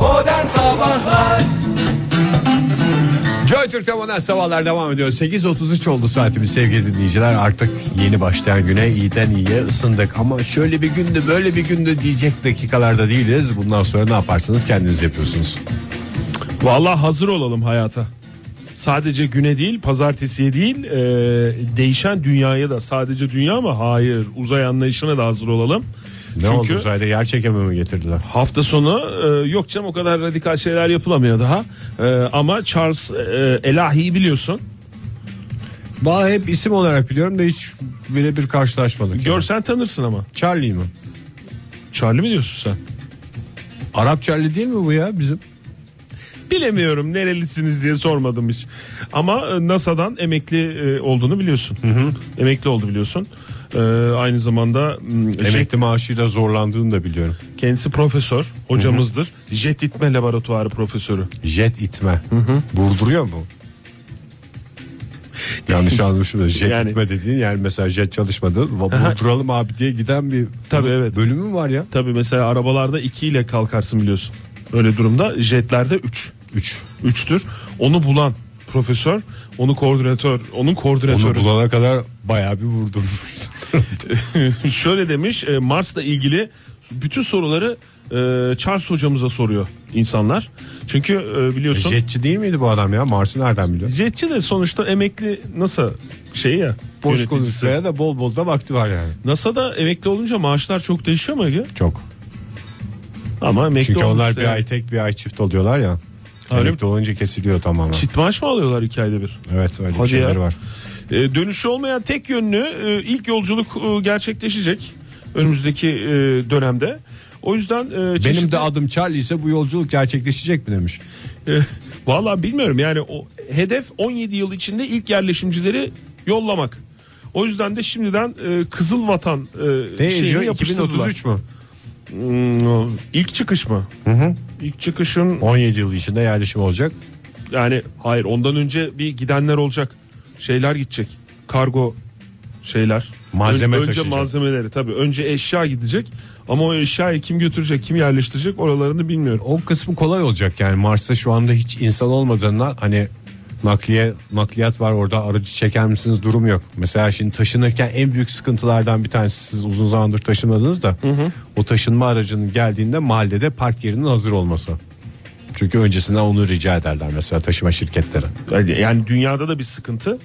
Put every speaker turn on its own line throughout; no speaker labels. Oh, Sabahlar
Joy Türk'te modern sabahlar devam ediyor. 8.33 oldu saatimiz sevgili dinleyiciler. Artık yeni başlayan güne iyiden iyiye ısındık. Ama şöyle bir gündü böyle bir gündü diyecek dakikalarda değiliz. Bundan sonra ne yaparsanız kendiniz yapıyorsunuz.
Vallahi hazır olalım hayata. Sadece güne değil, pazartesiye değil, e, değişen dünyaya da sadece dünya mı? Hayır, uzay anlayışına da hazır olalım.
Ne
Çünkü
oldu uzayda yer çekememe mi getirdiler?
hafta sonu e, yok canım o kadar radikal şeyler yapılamıyor daha. E, ama Charles e, Elahi'yi biliyorsun.
Vallahi hep isim olarak biliyorum da hiç birebir karşılaşmadık.
Görsen tanırsın ama.
Charlie mi?
Charlie mi diyorsun sen?
Arap Charlie değil mi bu ya bizim?
Bilemiyorum nerelisiniz diye sormadım hiç. Ama e, NASA'dan emekli e, olduğunu biliyorsun. Emekli oldu biliyorsun. E, aynı zamanda m, şey-
Emekli maaşıyla zorlandığını da biliyorum.
Kendisi profesör, hocamızdır. Jet itme laboratuvarı profesörü.
Jet itme. Vurduruyor mu? Yanlış anlaşılma. Jet
Yani-
itme dediğin yani mesela jet çalışmadı. Va- Vurduralım abi diye giden bir
Tabii, evet.
bölümü var ya.
Tabii mesela arabalarda 2 ile kalkarsın biliyorsun. Öyle durumda jetlerde 3.
3.
3'tür. Onu bulan profesör, onu koordinatör, onun
Onu
koordinatörü.
bulana kadar bayağı bir vurdurmuş.
Şöyle demiş, e, Mars'la ilgili bütün soruları e, Charles hocamıza soruyor insanlar. Çünkü e, biliyorsun
Jetçi değil miydi bu adam ya? Mars'ı nereden biliyor?
jetçi de sonuçta emekli NASA şey ya.
Boş
yöneticisi.
konuşmaya da bol bol da vakti var yani.
NASA'da emekli olunca maaşlar çok değişiyor mu Ege?
Çok.
Ama emekli
Çünkü onlar
olmuş
bir
yani.
ay tek bir ay çift oluyorlar ya.
Öyle
Emekli olunca kesiliyor tamamen.
Çit maaş mı alıyorlar iki ayda bir?
Evet öyle
Hadi
şeyler
ya.
var.
Ee, dönüşü olmayan tek yönlü e, ilk yolculuk e, gerçekleşecek önümüzdeki e, dönemde. O yüzden e,
Benim
çeşitli-
de adım Charlie ise bu yolculuk gerçekleşecek mi demiş.
e, vallahi bilmiyorum yani o hedef 17 yıl içinde ilk yerleşimcileri yollamak. O yüzden de şimdiden e, Kızıl Vatan e,
Ne
şeyini
diyor?
yapıştırdılar.
2033 mu?
Hmm, ilk çıkış mı? İlk çıkışın
17 yıl içinde yerleşim olacak.
yani hayır ondan önce bir gidenler olacak. Şeyler gidecek. Kargo şeyler.
Malzeme
Ön- önce
taşıyacak.
malzemeleri tabii. Önce eşya gidecek. Ama o eşyayı kim götürecek, kim yerleştirecek oralarını bilmiyorum.
O kısmı kolay olacak yani Mars'ta şu anda hiç insan olmadığından hani nakliye nakliyat var orada aracı çeker misiniz durum yok. Mesela şimdi taşınırken en büyük sıkıntılardan bir tanesi siz uzun zamandır taşınmadınız da o taşınma aracının geldiğinde mahallede park yerinin hazır olması. Çünkü öncesinden onu rica ederler mesela taşıma şirketleri.
Yani, yani dünyada da bir sıkıntı,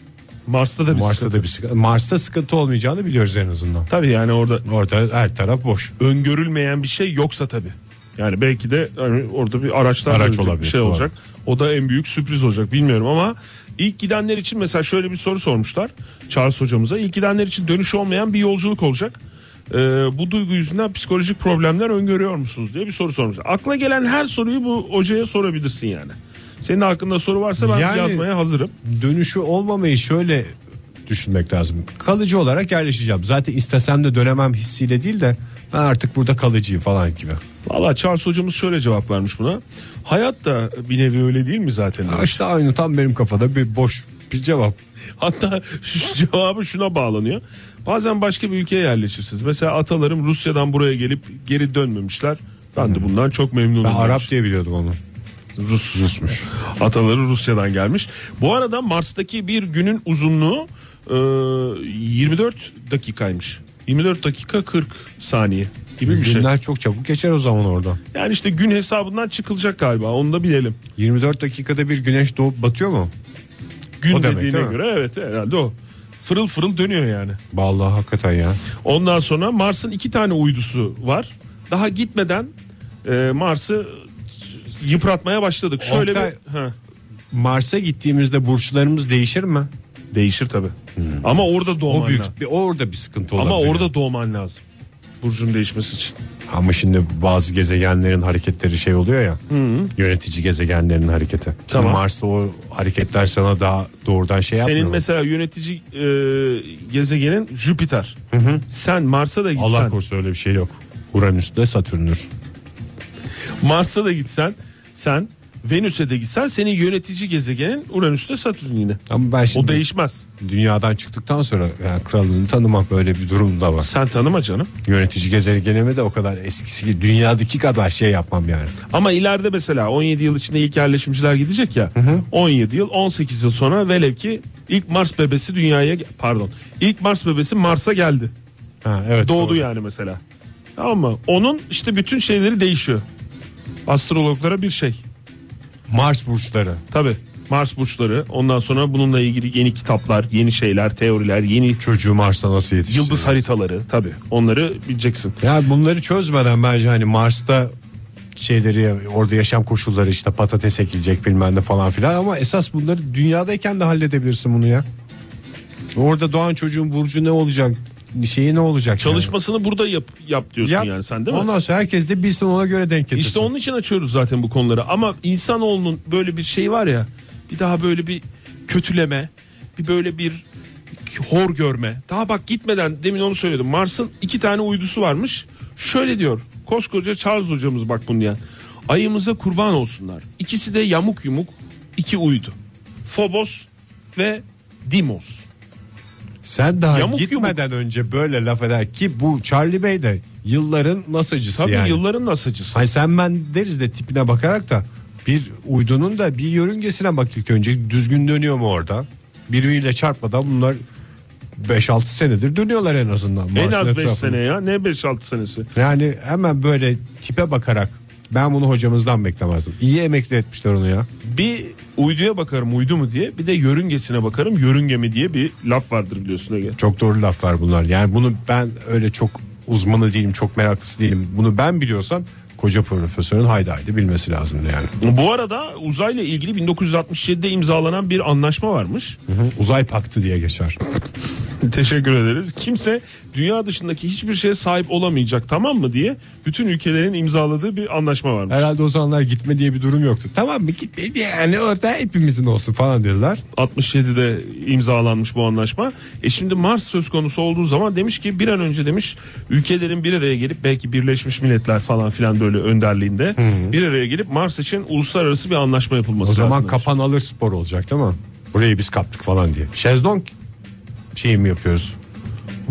Mars'ta da bir
Mars'ta
sıkıntı.
da bir sıkıntı, Mars'ta sıkıntı olmayacağını biliyoruz en azından.
Tabii yani orada
Orada her taraf boş.
öngörülmeyen bir şey yoksa tabii. Yani belki de hani orada bir araçlar
Araç
dönecek,
olabilir,
bir şey
doğru.
olacak. O da en büyük sürpriz olacak bilmiyorum ama ilk gidenler için mesela şöyle bir soru sormuşlar Charles hocamıza. İlk gidenler için dönüşü olmayan bir yolculuk olacak. Ee, bu duygu yüzünden psikolojik problemler öngörüyor musunuz diye bir soru sormuşlar. Akla gelen her soruyu bu hocaya sorabilirsin yani. Senin hakkında soru varsa ben
Yani-
yazmaya hazırım.
dönüşü olmamayı şöyle düşünmek lazım. Kalıcı olarak yerleşeceğim. Zaten istesem de dönemem hissiyle değil de ben artık burada kalıcıyım falan gibi.
Valla Charles hocamız şöyle cevap vermiş buna. Hayat da bir nevi öyle değil mi zaten?
Ya İşte aynı tam benim kafada bir boş bir cevap.
Hatta şu cevabı şuna bağlanıyor. Bazen başka bir ülkeye yerleşirsiniz. Mesela atalarım Rusya'dan buraya gelip geri dönmemişler. Ben de bundan çok memnunum.
Ben
demiş.
Arap diye biliyordum onu.
Rus Rusmuş. Ataları Rusya'dan gelmiş. Bu arada Mars'taki bir günün uzunluğu e, 24 dakikaymış. 24 dakika 40 saniye gibi bir şey.
Günler çok çabuk geçer o zaman orada.
Yani işte gün hesabından çıkılacak galiba. Onu da bilelim.
24 dakikada bir güneş doğup batıyor mu?
Gün
O demek,
dediğine
değil mi?
göre evet herhalde o. Fırıl fırıl dönüyor yani.
Vallahi hakikaten ya.
Ondan sonra Mars'ın iki tane uydusu var. Daha gitmeden e, Mars'ı yıpratmaya başladık. Şöyle
Oktay-
bir Ha,
Mars'a gittiğimizde burçlarımız değişir mi?
değişir tabii. Ama orada doğman
O büyük
lazım.
bir orada bir sıkıntı olabilir.
Ama orada doğman lazım. Burcun değişmesi için.
Ama şimdi bazı gezegenlerin hareketleri şey oluyor ya. Yönetici gezegenlerin hareketi. Şimdi
Tamam.
Mars'ta o hareketler sana daha doğrudan şey yapmıyor.
Senin
mu?
mesela yönetici e, gezegenin Jüpiter. Sen Mars'a da gitsen,
Allah korusun öyle bir şey yok. Uranüs'te Satürn'dür.
Mars'a da gitsen sen Venüs'e de gitsen senin yönetici gezegenin Uranüs'te Satürn yine.
Ama ben şimdi
O değişmez.
dünyadan çıktıktan sonra yani kralını tanımam böyle bir durum da var.
Sen tanıma canım.
Yönetici gezegenimi de o kadar eskisi gibi dünyadaki kadar şey yapmam yani.
Ama ileride mesela 17 yıl içinde ilk yerleşimciler gidecek ya. 17 yıl 18 yıl sonra velev ki ilk Mars bebesi dünyaya pardon ilk Mars bebesi Mars'a geldi.
Ha, evet.
Doğdu
doğru.
yani mesela. Tamam mı? Onun işte bütün şeyleri değişiyor. Astrologlara bir şey.
Mars burçları.
Tabi Mars burçları ondan sonra bununla ilgili yeni kitaplar, yeni şeyler, teoriler, yeni
Çocuğu Mars'a nasıl yetiştirir?
yıldız haritaları tabi onları bileceksin.
Ya bunları çözmeden bence hani Mars'ta şeyleri orada yaşam koşulları işte patates ekilecek bilmem ne falan filan ama esas bunları dünyadayken de halledebilirsin bunu ya. Orada doğan çocuğun burcu ne olacak? Şeyi ne olacak?
Çalışmasını burada yap, yap diyorsun
yani. Yap.
yani sen değil mi?
Ondan sonra herkes de bilsin ona göre denk getirsin.
İşte onun için açıyoruz zaten bu konuları. Ama insanoğlunun böyle bir şey var ya. Bir daha böyle bir kötüleme, bir böyle bir hor görme. Daha bak gitmeden demin onu söyledim. Mars'ın iki tane uydusu varmış. Şöyle diyor. Koskoca Charles hocamız bak bunu diyen. Ayımıza kurban olsunlar. İkisi de yamuk yumuk iki uydu. Phobos ve Dimos.
Sen daha
Yamuk
gitmeden önce böyle laf eder ki bu Charlie Bey de yılların NASA'cısı
Tabii
yani.
yılların nasıcısı.
Hani sen ben deriz de tipine bakarak da bir uydunun da bir yörüngesine bak ilk önce düzgün dönüyor mu orada? Birbiriyle çarpmadan bunlar 5-6 senedir dönüyorlar en azından.
En
Mars'ın
az 5
etrafında.
sene ya. Ne 5-6 senesi.
Yani hemen böyle tipe bakarak ben bunu hocamızdan beklemezdim. İyi emekli etmişler onu ya.
bir uyduya bakarım uydu mu diye bir de yörüngesine bakarım yörünge mi diye bir laf vardır biliyorsun Ege.
Çok doğru laflar bunlar. Yani bunu ben öyle çok uzmanı değilim, çok meraklısı değilim. Bunu ben biliyorsam koca profesörün haydi haydi bilmesi lazımdı yani.
Bu arada uzayla ilgili 1967'de imzalanan bir anlaşma varmış.
Uzay paktı diye geçer.
Teşekkür ederiz. Kimse dünya dışındaki hiçbir şeye sahip olamayacak tamam mı diye bütün ülkelerin imzaladığı bir anlaşma varmış.
Herhalde o zamanlar gitme diye bir durum yoktu. Tamam mı gitme diye yani orada hepimizin olsun falan dediler.
67'de imzalanmış bu anlaşma. E şimdi Mars söz konusu olduğu zaman demiş ki bir an önce demiş ülkelerin bir araya gelip belki Birleşmiş Milletler falan filan böyle önderliğinde bir araya gelip Mars için uluslararası bir anlaşma yapılması
O zaman
lazım demiş.
kapan alır spor olacak değil mi? Burayı biz kaptık falan diye. Şezlong şeyi mi yapıyoruz?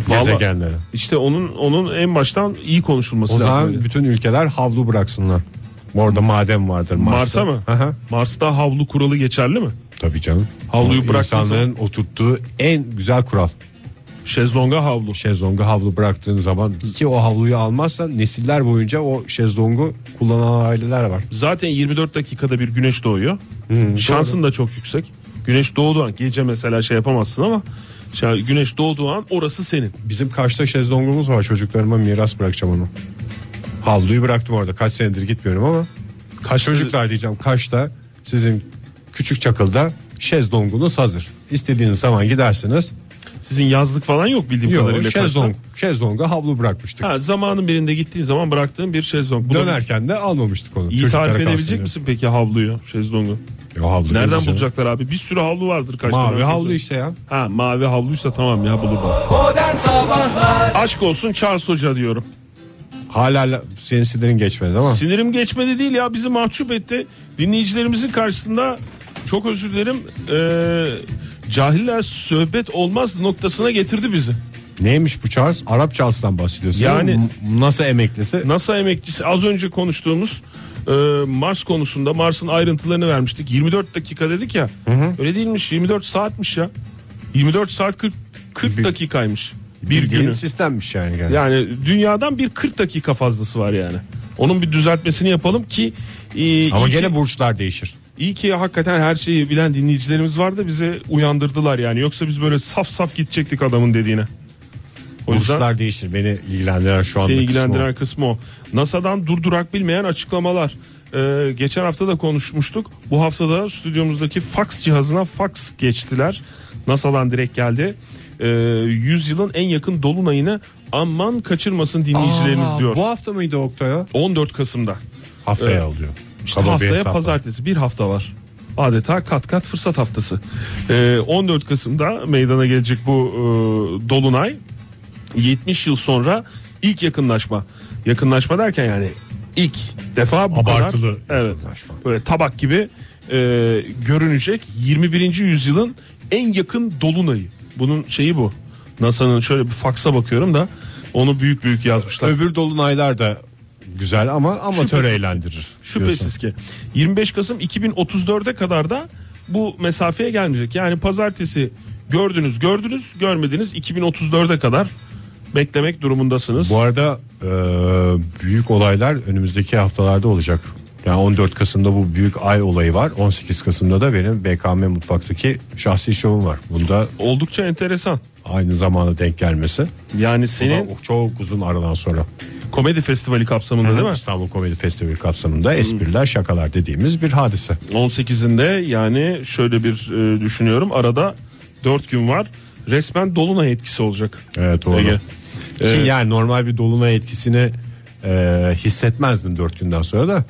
Vallahi-
Gezegenlere.
İşte onun onun en baştan iyi konuşulması
O
lazım.
zaman
öyle.
bütün ülkeler havlu bıraksınlar. Orada maden vardır Mars'ta.
Mars'a mı?
Hı hı.
Mars'ta havlu kuralı geçerli mi?
Tabii canım.
Havluyu
O
bıraktığın
insanlığın oturttuğu en güzel kural.
Şezlonga havlu.
Şezlonga havlu bıraktığın zaman ki o havluyu almazsan nesiller boyunca o şezlongu kullanan aileler var.
Zaten 24 dakikada bir güneş doğuyor. Şansın da çok yüksek. Güneş doğduğu an gece mesela şey yapamazsın ama şey, güneş doğduğu an orası senin.
Bizim karşıda şezlongumuz var çocuklarıma miras bırakacağım onu. Havluyu bıraktım orada kaç senedir gitmiyorum ama.
Kaç
Çocuklar diyeceğim Kaş'ta sizin küçük çakılda şezlongunuz hazır. İstediğiniz zaman gidersiniz.
Sizin yazlık falan yok bildiğim
Yok
kadarıyla.
şezlong,
Kaçta?
şezlonga havlu bırakmıştık.
Ha, zamanın birinde gittiğin zaman bıraktığın bir şezlong. Bunu
Dönerken de almamıştık onu.
iyi
Çocuklara
tarif
kalsın
edebilecek
diye.
misin peki havluyu, şezlongu?
Yo, havlu değil
Nereden
canım.
bulacaklar abi? Bir sürü havlu vardır kaçta.
Mavi
Nereden
havlu
bulacak?
işte ya.
Ha mavi havluysa tamam ya bulur.
Modern Sabahlar
Aşk olsun Charles Hoca diyorum.
Hala la- senin sinirin geçmedi ama.
Sinirim geçmedi değil ya bizi mahcup etti. Dinleyicilerimizin karşısında çok özür dilerim. Ee, cahiller söhbet olmaz noktasına getirdi bizi.
Neymiş bu Charles? Arap Charles'tan bahsediyorsun.
Yani-
değil mi? M- nasıl emeklisi?
NASA emekçisi az önce konuştuğumuz e, Mars konusunda Mars'ın ayrıntılarını vermiştik. 24 dakika dedik ya. Öyle değilmiş 24 saatmiş ya. 24 saat 40, 40
Bir-
dakikaymış. Bir
Bildiğin
günü.
sistemmiş yani. yani.
Yani dünyadan bir 40 dakika fazlası var yani. Onun bir düzeltmesini yapalım ki e,
Ama
iyi ki-
gene burçlar değişir.
İyi ki hakikaten her şeyi bilen dinleyicilerimiz var da bizi uyandırdılar yani. Yoksa biz böyle saf saf gidecektik adamın dediğine. O yüzden
Burçlar değişir. Beni ilgilendiren şu anda
seni Şey ilgilendiren kısmı o. NASA'dan durdurak bilmeyen açıklamalar. Ee, geçen hafta da konuşmuştuk. Bu haftada stüdyomuzdaki fax cihazına fax geçtiler. NASA'dan direkt geldi. Ee, yüzyılın en yakın dolunayını aman kaçırmasın dinleyicilerimiz diyor.
Bu hafta mıydı Oktay ya?
14 Kasım'da.
Haftaya
Evet.
alıyor.
İşte
Kaba bir
haftaya
hesapla.
pazartesi bir hafta var. Adeta kat kat fırsat haftası. Ee, 14 Kasım'da meydana gelecek bu e, dolunay 70 yıl sonra ilk yakınlaşma. Yakınlaşma derken yani ilk defa bu
Abartılı
kadar evet,
yaklaşma.
böyle tabak gibi e, görünecek 21. yüzyılın en yakın dolunayı. Bunun şeyi bu. NASA'nın şöyle bir faksa bakıyorum da onu büyük büyük yazmışlar.
Öbür dolunaylar da güzel ama amatör
Şüphesiz.
eğlendirir.
Şüphesiz ki 25 Kasım 2034'e kadar da bu mesafeye gelmeyecek. Yani pazartesi gördünüz gördünüz görmediniz 2034'e kadar beklemek durumundasınız.
Bu arada e, büyük olaylar önümüzdeki haftalarda olacak. Yani 14 Kasım'da bu büyük ay olayı var. 18 Kasım'da da benim BKM mutfaktaki şahsi şovum var. Bunda
Oldukça enteresan.
aynı zamana denk gelmesi.
Yani
Bu da
senin
çok uzun aradan sonra.
komedi festivali kapsamında değil mi?
İstanbul Komedi Festivali kapsamında espriler, şakalar dediğimiz bir hadise.
18'inde yani şöyle bir e, düşünüyorum arada 4 gün var. Resmen dolunay etkisi olacak.
Evet doğru.
Ege.
Ki yani normal bir dolunay etkisini e, hissetmezdin 4 günden sonra da.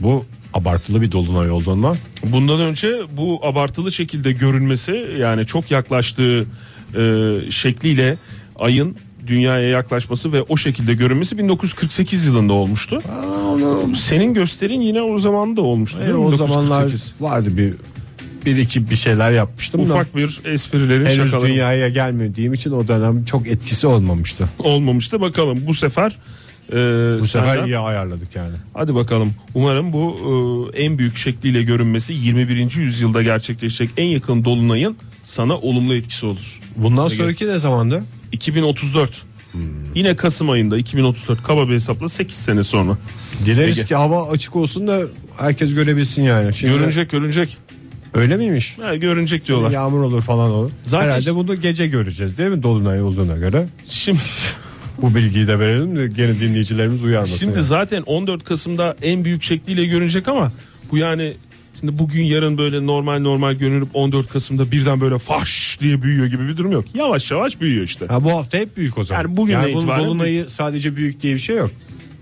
Bu abartılı bir dolunay olduğundan
Bundan önce bu abartılı şekilde görünmesi yani çok yaklaştığı e, şekliyle ayın dünyaya yaklaşması ve o şekilde görünmesi 1948 yılında olmuştu. Senin gösterin yine o zaman da olmuştu.
E,
değil mi?
o
1948.
zamanlar vardı bir bir iki bir şeyler yapmıştım da
ufak bir esprilerin
henüz
şakaları
dünyaya gelmediğim için o dönem çok etkisi olmamıştı.
olmamıştı. Bakalım bu sefer e,
Bu sefer
senden-
iyi ayarladık yani.
Hadi bakalım. Umarım bu e, en büyük şekliyle görünmesi 21. yüzyılda gerçekleşecek en yakın dolunayın sana olumlu etkisi olur.
Bundan sonraki ne zamandı?
2034. Yine Kasım ayında 2034 kaba bir hesapla 8 sene sonra.
Dileriz
Ege.
ki hava açık olsun da herkes görebilsin yani. Şimdi
Görünecek görünecek.
öyle miymiş?
Ha, görünecek diyorlar.
Yağmur olur falan olur.
Zaten
Herhalde
işte-
bunu gece göreceğiz değil mi dolunay olduğuna göre?
Şimdi
Bu bilgiyi de verelim de gene dinleyicilerimiz uyarmasın.
şimdi
yani.
zaten 14 Kasım'da en büyük şekliyle görünecek ama bu yani şimdi bugün yarın böyle normal normal görünüp 14 Kasım'da birden böyle faş diye büyüyor gibi bir durum yok. Yavaş yavaş büyüyor işte.
Ha, bu hafta hep büyük o zaman.
Yani bugünden
bunun
itibaren
dolunayı sadece büyük diye bir şey yok.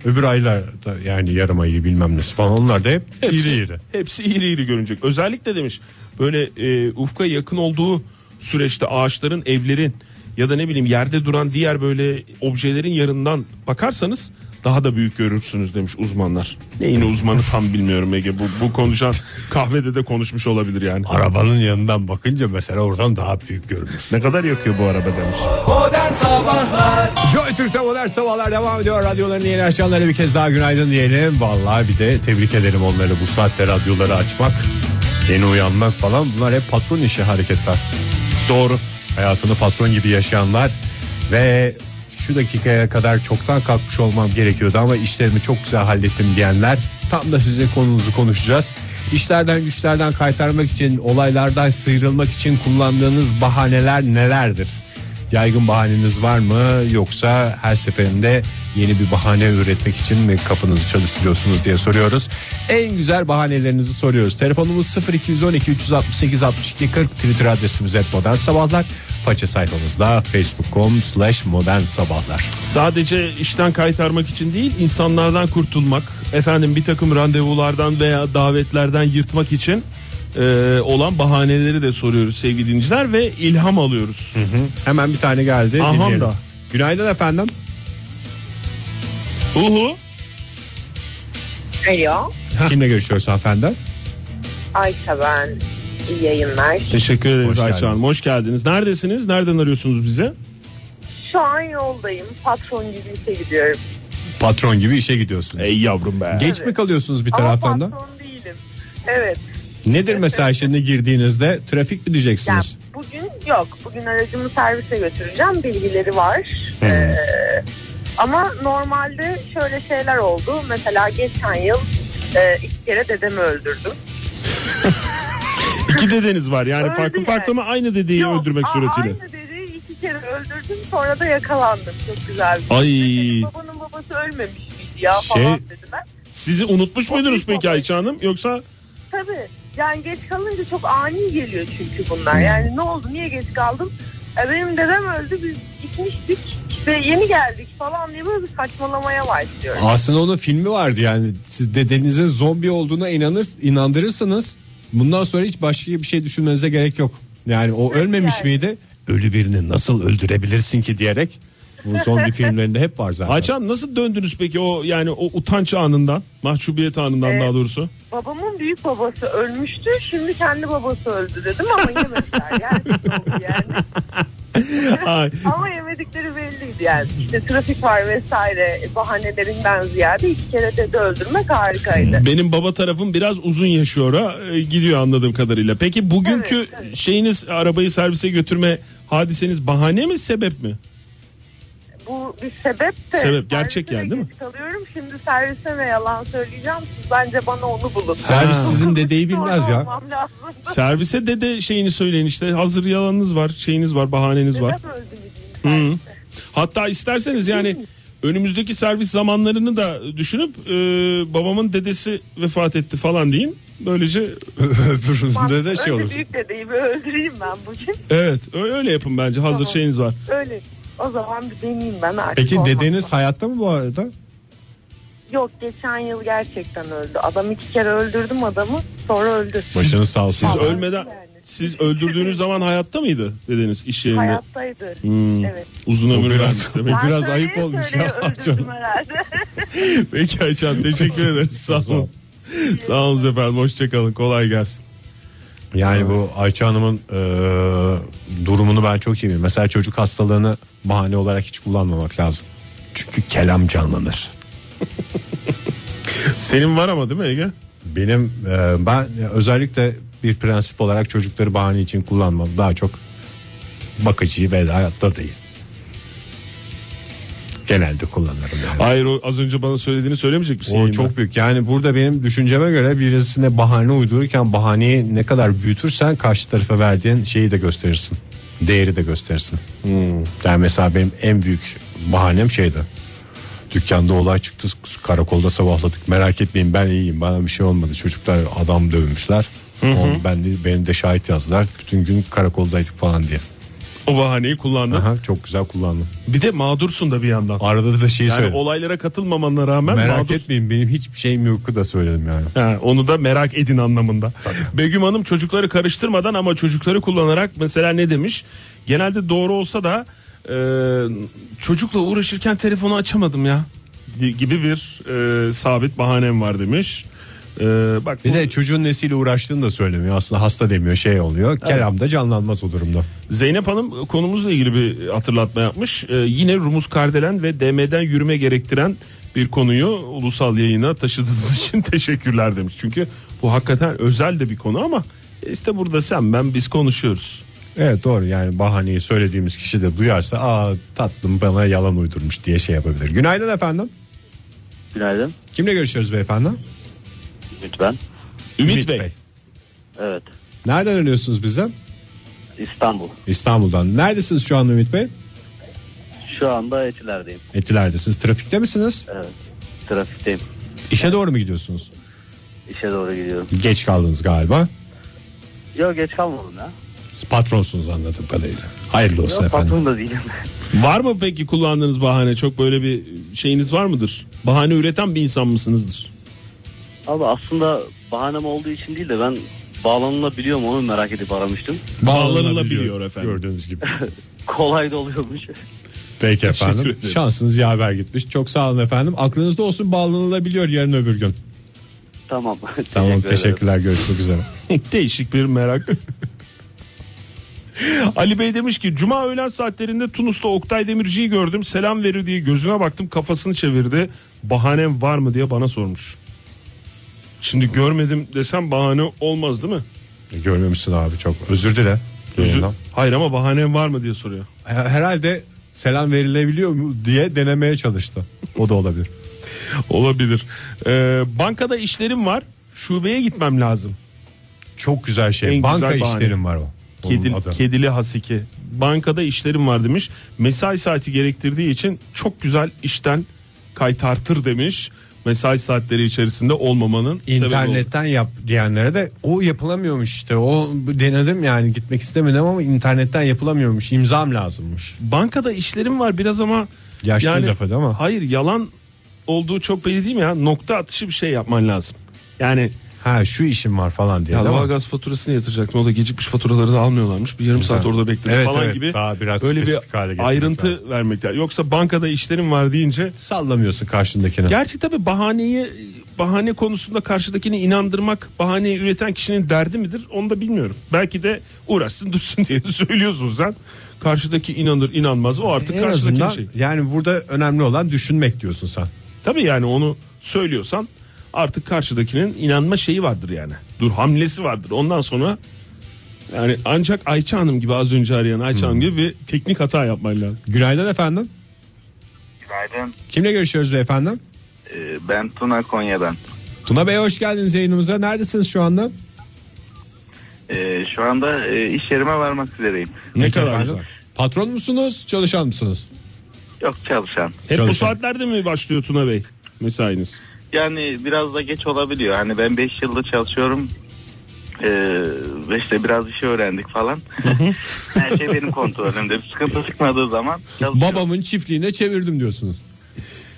Öbür aylar da yani yarım ayı bilmem nesi falan onlar da hep
Hepsi-
iri iri.
Hepsi iri iri görünecek. Özellikle demiş böyle e, ufka yakın olduğu süreçte ağaçların, evlerin ya da ne bileyim yerde duran diğer böyle objelerin yanından bakarsanız daha da büyük görürsünüz demiş uzmanlar. Neyin uzmanı tam bilmiyorum Ege. Bu, bu konuşan kahvede de konuşmuş olabilir yani.
Arabanın yanından bakınca mesela oradan daha büyük görünür.
Ne kadar yakıyor bu araba demiş.
Modern Sabahlar
Joy Türk'te modern sabahlar devam ediyor. Radyoların yeni açanlara bir kez daha günaydın diyelim. Vallahi bir de tebrik ederim onları bu saatte radyoları açmak. Yeni uyanmak falan bunlar hep patron işi hareketler. Doğru. Hayatını patron gibi yaşayanlar ve şu dakikaya kadar çoktan kalkmış olmam gerekiyordu ama işlerimi çok güzel hallettim diyenler tam da sizin konunuzu konuşacağız. İşlerden güçlerden kaytarmak için olaylardan sıyrılmak için kullandığınız bahaneler nelerdir? Yaygın bahaneniz var mı yoksa her seferinde yeni bir bahane üretmek için mi kafanızı çalıştırıyorsunuz diye soruyoruz. En güzel bahanelerinizi soruyoruz. Telefonumuz 0212 368 62 40 Twitter adresimiz et modern sabahlar. Faça sayfamızda facebook.com slash modern sabahlar.
Sadece işten kaytarmak için değil insanlardan kurtulmak efendim bir takım randevulardan veya davetlerden yırtmak için e, olan bahaneleri de soruyoruz sevgili dinleyiciler ve ilham alıyoruz.
Hemen bir tane geldi.
Aham
dinleyelim.
da.
Günaydın efendim.
Uhu
Alo.
Kimle görüşüyoruz efendim?
Ayça ben. İyi yayınlar.
teşekkür ederiz
Hoş
Ayça Hanım
geldiniz.
hoş geldiniz. Neredesiniz nereden arıyorsunuz bize?
Şu an yoldayım. Patron gibi işe gidiyorum.
Patron gibi işe gidiyorsunuz.
Ey yavrum be.
Geç mi kalıyorsunuz bir taraftan
Ama
da?
patron değilim. Evet.
Nedir mesaj şimdi girdiğinizde trafik mi
Yani
diyeceksiniz?
bugün yok. Bugün aracımı servise götüreceğim. Bilgileri var.
Hmm.
Ee, ama normalde şöyle şeyler oldu. Mesela geçen yıl e, iki kere dedemi öldürdüm.
İki dedeniz var yani
Öldü
farklı
yani.
farklı ama aynı dedeyi
Yok,
öldürmek
aa,
suretiyle.
Aynı dedeyi iki kere öldürdüm. Sonra da yakalandım. Çok güzel. bir şey.
Ay.
Dedemin Babanın babası ölmemiş miydi ya
Şey-
falan dediler.
Sizi unutmuş
O
muydunuz
büyük
peki
baba.
Ayça Hanım yoksa
Tabii. Yani geç kalınca çok ani geliyor çünkü bunlar. Yani ne oldu niye geç kaldım? E, benim dedem öldü biz gitmiştik işte yeni geldik falan diye böyle bir saçmalamaya başlıyoruz.
Aslında onun filmi vardı yani siz dedenizin zombi olduğuna inanır inandırırsınız. Bundan sonra hiç başka bir şey düşünmenize gerek yok. Yani o ölmemiş
yani?
miydi? Ölü birini nasıl öldürebilirsin ki diyerek Bu zombi filmlerinde hep var zaten.
Ayça'm nasıl döndünüz peki o yani o utanç anından, mahcubiyet anından
Evet.
daha doğrusu?
Babamın büyük babası ölmüştü. Şimdi kendi babası öldü dedim ama yemediler. Gerçekten oldu yani.
Ay,
Ama yemedikleri belliydi yani. İşte trafik var vesaire bahanelerinden ziyade iki kere dede öldürmek harikaydı.
benim baba tarafım biraz uzun yaşıyor ha e, gidiyor anladığım kadarıyla. Peki bugünkü
Evet, evet.
şeyiniz arabayı servise götürme hadiseniz bahane mi sebep mi?
Bu bir sebep de.
Sebep, gerçek
servise
yani,
de
değil mi?
geç Kalıyorum şimdi servise ne yalan söyleyeceğim. Siz bence bana onu bulun.
Servis
Ha.
sizin dedeyi bilmez
Orada
ya.
olmam lazım.
Servise de de şeyini söyleyin işte hazır yalanınız var, şeyiniz var, bahaneniz var.
Neden öldü gideyim
Hı.
servise?
Hatta isterseniz yani önümüzdeki servis zamanlarını da düşünüp e, babamın dedesi vefat etti falan deyin. Böylece
Öbüründe de şey
Önce
olur.
Büyük dedeyi bir öldüreyim ben bugün.
evet ö- öyle yapın bence hazır
Tamam.
şeyiniz var.
Öyle. O zaman bir deneyeyim ben artık.
Peki
olmazsa.
dedeniz hayatta mı bu arada?
Yok geçen yıl gerçekten öldü. Adam iki kere öldürdüm adamı sonra öldü.
Başınız sağ olsun.
Siz
Tamam.
ölmeden
Yani.
siz öldürdüğünüz zaman hayatta mıydı dediniz iş yerinde?
Hayattaydı.
Hmm.
Evet.
Uzun ömür
biraz-
vermiş demek.
Ben
Biraz ayıp
söyleye
olmuş
söyleye
ya,
öldürdüm
canım.
herhalde.
Peki Ayça'm teşekkür ederiz. Sağ olun. Sağ olun efendim. Hoşçakalın. Kolay gelsin.
Yani bu Ayça Hanım'ın e, durumunu ben çok iyi biliyorum. Mesela çocuk hastalığını bahane olarak hiç kullanmamak lazım. Çünkü kelam canlanır.
Senin var ama değil mi Ege?
Benim e, ben özellikle bir prensip olarak çocukları bahane için kullanmam. Daha çok bakıcıyı ve hayatta değil. Genelde kullanırım yani.
Hayır o az önce bana söylediğini söylemeyecek misin?
O
yayında?
çok büyük. Yani burada benim düşünceme göre birisine bahane uydururken bahaneyi ne kadar büyütürsen karşı tarafa verdiğin şeyi de gösterirsin. Değeri de gösterirsin. Yani mesela benim en büyük bahanem şeydi. Dükkanda olay çıktı karakolda sabahladık merak etmeyin ben iyiyim bana bir şey olmadı çocuklar adam dövmüşler. Onu ben de, beni de şahit yazdılar bütün gün karakoldaydık falan diye.
O bahaneyi kullandın.
Aha, çok güzel kullandım.
Bir de mağdursun da bir yandan.
Arada da şeyi
Yani
söyledim.
olaylara katılmamanla rağmen
şey. Merak
mağdursun.
etmeyin benim hiçbir şeyim yoktu da söyledim yani.
Ha, onu da merak edin anlamında. Begüm Hanım çocukları karıştırmadan ama çocukları kullanarak mesela ne demiş? Genelde doğru olsa da e, çocukla uğraşırken telefonu açamadım ya gibi bir e, sabit bahanem var demiş. E, bak
Bir
bu-
de çocuğun nesiyle uğraştığını da söylemiyor. Aslında hasta demiyor şey oluyor. Kelam da canlanmaz o durumda.
Zeynep Hanım e, konumuzla ilgili bir hatırlatma yapmış. E, yine Rumuz Kardelen ve DM'den yürüme gerektiren bir konuyu ulusal yayına taşıdığınız için teşekkürler demiş. Çünkü bu hakikaten özel de bir konu ama e, işte burada sen ben biz konuşuyoruz.
Evet doğru yani bahaneyi söylediğimiz kişi de duyarsa aa tatlım bana yalan uydurmuş diye şey yapabilir. Günaydın efendim.
Günaydın.
Kimle görüşüyoruz beyefendi?
Lütfen.
Ümit, Bey.
Evet.
Nereden arıyorsunuz bize?
İstanbul.
İstanbul'dan. Neredesiniz şu an Ümit Bey?
Şu anda Etiler'deyim.
Etiler'desiniz. Trafikte misiniz?
Evet. Trafikteyim.
İşe doğru mu gidiyorsunuz?
İşe doğru gidiyorum.
Geç kaldınız galiba.
Yok geç kalmadım ya.
Patronsunuz anladığım kadarıyla. Hayırlı olsun
Yok
efendim.
patron da değilim.
Var mı peki kullandığınız bahane? Çok böyle bir e, şeyiniz var mıdır? Bahane üreten bir insan mısınızdır?
Abi aslında bahanem olduğu için değil de ben bağlanılabiliyor mu onu merak edip aramıştım.
Bağlanılabiliyor efendim.
Gördüğünüz gibi.
Kolay da oluyormuş.
Peki efendim.
ederiz.
Şansınız yaver gitmiş. Çok sağ olun efendim. Aklınızda olsun bağlanılabiliyor yarın öbür gün.
tamam.
Tamam
ederim.
teşekkürler görüşmek üzere.
Değişik bir merak. Ali Bey demiş ki Cuma öğlen saatlerinde Tunus'ta Oktay Demirci'yi gördüm. Selam verir diye gözüne baktım kafasını çevirdi. Bahanem var mı diye bana sormuş. Şimdi görmedim desem bahane olmaz değil mi?
E, Görmemişsin abi çok. Özür dile.
Özür-
Yayından.
Hayır ama bahanem var mı diye soruyor.
Her- Herhalde selam verilebiliyor mu diye denemeye çalıştı. O da olabilir.
Olabilir. Ee, bankada işlerim var. Şubeye gitmem lazım.
Çok güzel şey.
En
Banka
güzel bahane.
işlerim var o. Onun
Kedil-
adı.
kedili hasiki. Bankada işlerim var demiş. Mesai saati gerektirdiği için çok güzel işten kaytartır demiş. Mesai saatleri içerisinde olmamanın sebebi oldu.
İnternetten yap diyenlere de o yapılamıyormuş işte. O denedim yani gitmek istemedim ama internetten yapılamıyormuş. İmzam lazımmış.
Bankada işlerim var biraz ama
Yaşlı laf edi ama.
Hayır yalan olduğu çok belli değil mi ya? Nokta atışı bir şey yapman lazım. Yani
Ha şu işim var falan diye.
Ya
değil mi?
doğalgaz faturasını yatıracaktım. O da gecikmiş faturaları da almıyorlarmış. Bir yarım saat orada bekledim
E, Evet,
falan
evet.
gibi.
Daha biraz
Böyle bir
spesifik hale getirmek
ayrıntı
lazım.
vermek lazım. Yoksa bankada işlerim var deyince
Sallamıyorsun karşındakine.
Gerçi tabi bahaneyi bahane konusunda karşıdakini inandırmak bahaneyi üreten kişinin derdi midir onu da bilmiyorum. Belki de uğraşsın dursun diye söylüyorsun sen. Karşıdaki inanır inanmaz o artık
en azından
karşıdaki şey.
yani burada önemli olan düşünmek diyorsun sen.
Tabi yani onu söylüyorsan artık karşıdakinin inanma şeyi vardır yani. Dur hamlesi vardır ondan sonra yani ancak Ayça Hanım gibi az önce arayan Ayça
Hmm.
Hanım gibi bir teknik hata yapman lazım.
Günaydın efendim.
Günaydın.
Kimle görüşüyoruz beyefendi?
Ee, Ben Tuna Konya'dan.
Tuna Bey hoş geldiniz yayınımıza. Neredesiniz şu anda?
Ee, şu anda e, iş yerime varmak üzereyim.
Ne
Peki
kadar
efendim.
güzel.
Patron musunuz, çalışan mısınız?
Yok çalışan.
Hep bu
Çalışan.
saatlerde mi başlıyor Tuna Bey mesainiz?
Yani biraz da geç olabiliyor. Hani ben 5 yıldır çalışıyorum. Ee, ve işte biraz işi öğrendik falan. Her şey benim kontrolümde. Bir sıkıntı çıkmadığı zaman çalışıyorum.
Babamın çiftliğine çevirdim diyorsunuz.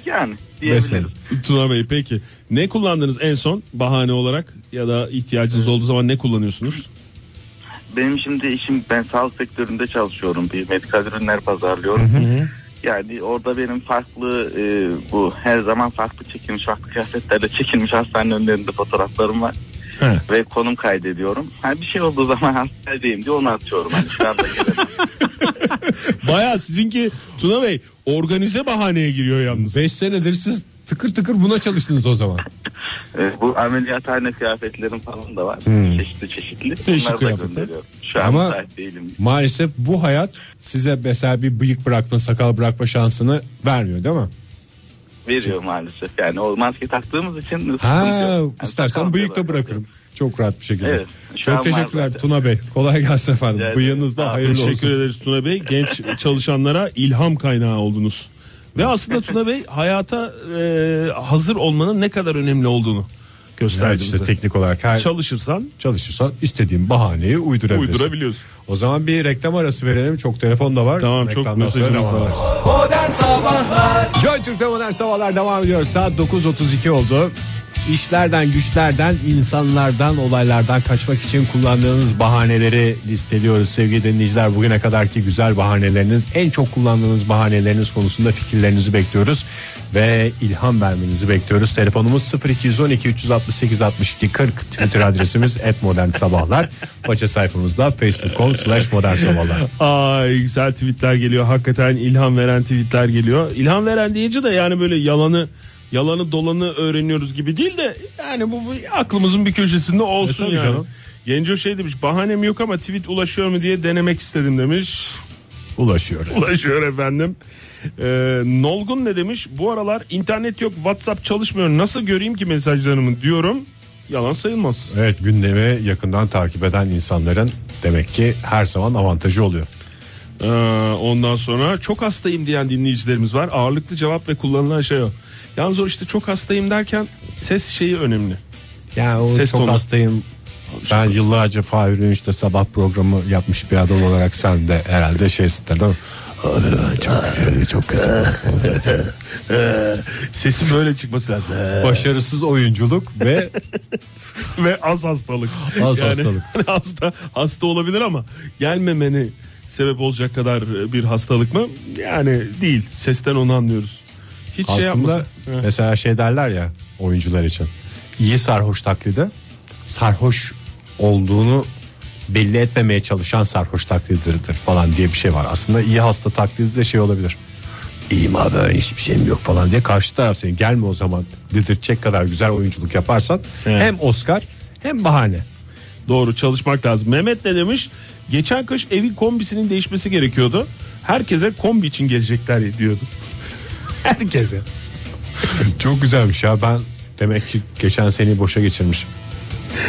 Yani diyebilirim.
Tuna Bey peki ne kullandınız en son bahane olarak ya da ihtiyacınız olduğu zaman ne kullanıyorsunuz?
Benim şimdi işim ben sağlık sektöründe çalışıyorum. Bir medikal ürünler pazarlıyorum. Yani orada benim farklı e, bu her zaman farklı çekilmiş farklı kıyafetlerle çekilmiş hastane önlerinde fotoğraflarım var.
He.
Ve konum kaydediyorum. Ha, bir şey olduğu zaman hastanedeyim diye onu atıyorum. Hani şu anda gelemem.
Baya sizinki Tuna Bey organize bahaneye giriyor yalnız.
5 senedir siz tıkır tıkır buna çalıştınız o zaman.
E, bu ameliyathane kıyafetlerim falan da var. Çeşitli çeşitli.
Değişik
Onları da
kıyafetler.
gönderiyorum. Şu an
Hmm. Ama-
müsait değilim.
Maalesef bu hayat size mesela bir bıyık bırakma, sakal bırakma şansını vermiyor değil mi?
Veriyor maalesef. Yani o maske taktığımız için sıkıntı
Ha,
yok. Yani
istersen bıyık da
kalmıyorlar.
bırakırım. Çok rahat bir şekilde.
Evet, şu an
Çok
var
teşekkürler
zaten.
Tuna Bey. Kolay gelsin efendim.
Rica ederim.
Bıyığınız
Sağ
da
olun.
hayırlı
Teşekkür
olsun.
ederiz Tuna Bey. Genç çalışanlara ilham kaynağı oldunuz. Ve aslında Tuna Bey hayata e, hazır olmanın ne kadar önemli olduğunu
Evet,
gösterdi
işte
bize.
teknik olarak her
Çalışırsan
çalışırsan istediğin bahaneyi uydurabilirsin.
uydurabiliyorsun.
O zaman bir reklam arası verelim. Çok telefon da var.
Tamam, çok
Reklamdan sonra
mesajımız
devam
da var.
ederiz.
Modern Sabahlar
Joy Türk'te modern sabahlar devam ediyor. Saat 9.32 oldu. İşlerden, güçlerden, insanlardan, olaylardan kaçmak için kullandığınız bahaneleri listeliyoruz. Sevgili dinleyiciler bugüne kadarki güzel bahaneleriniz, en çok kullandığınız bahaneleriniz konusunda fikirlerinizi bekliyoruz. Ve ilham vermenizi bekliyoruz. Telefonumuz 0212 368 62 40. Twitter adresimiz @modernsabahlar. Faça sayfamızda facebook.com slash modernsabahlar.
Ay güzel tweetler geliyor. Hakikaten ilham veren tweetler geliyor. İlham veren deyince de yani böyle yalanı yalanı dolanı öğreniyoruz gibi değil de yani bu, bu aklımızın bir köşesinde olsun
E, tabii
yani.
canım.
Genco şey demiş bahanem yok ama tweet ulaşıyor mu diye denemek istedim demiş.
Ulaşıyor.
Ulaşıyor efendim. Ee, Nolgun ne demiş? Bu aralar internet yok WhatsApp çalışmıyor nasıl göreyim ki mesajlarımı diyorum. Yalan sayılmaz.
Evet gündemi yakından takip eden insanların demek ki her zaman avantajı oluyor.
Ee, ondan sonra çok hastayım diyen dinleyicilerimiz var. Ağırlıklı cevap ve kullanılan şey o. Yalnız o işte çok hastayım derken ses şeyi önemli.
Yani o
Ses
çok
tonu.
hastayım. Ben yıllarca Fahir Önç'te sabah programı yapmış bir adam olarak sen de herhalde şeysin değil mi? çok kötü, çok kötü.
Sesi böyle çıkması lazım.
Başarısız oyunculuk ve
ve az hastalık.
Az hastalık.
hasta, hasta olabilir ama gelmemeni sebep olacak kadar bir hastalık mı? Yani değil. Sesten onu anlıyoruz. Hiç şey
aslında
yapmasa. Heh.
mesela şey derler ya oyuncular için. İyi sarhoş taklidi sarhoş olduğunu belli etmemeye çalışan sarhoş taklididir falan diye bir şey var. Aslında iyi hasta taklidi de şey olabilir. İyiyim abi hiçbir şeyim yok falan diye karşı taraf seni gelme o zaman dedirtecek kadar güzel oyunculuk yaparsan
Evet.
hem Oscar hem bahane.
Doğru çalışmak lazım. Mehmet ne demiş? Geçen kış evin kombisinin değişmesi gerekiyordu. Herkese kombi için gelecekler diyordu. Herkese.
Çok güzelmiş ya ben demek ki geçen seneyi boşa geçirmişim.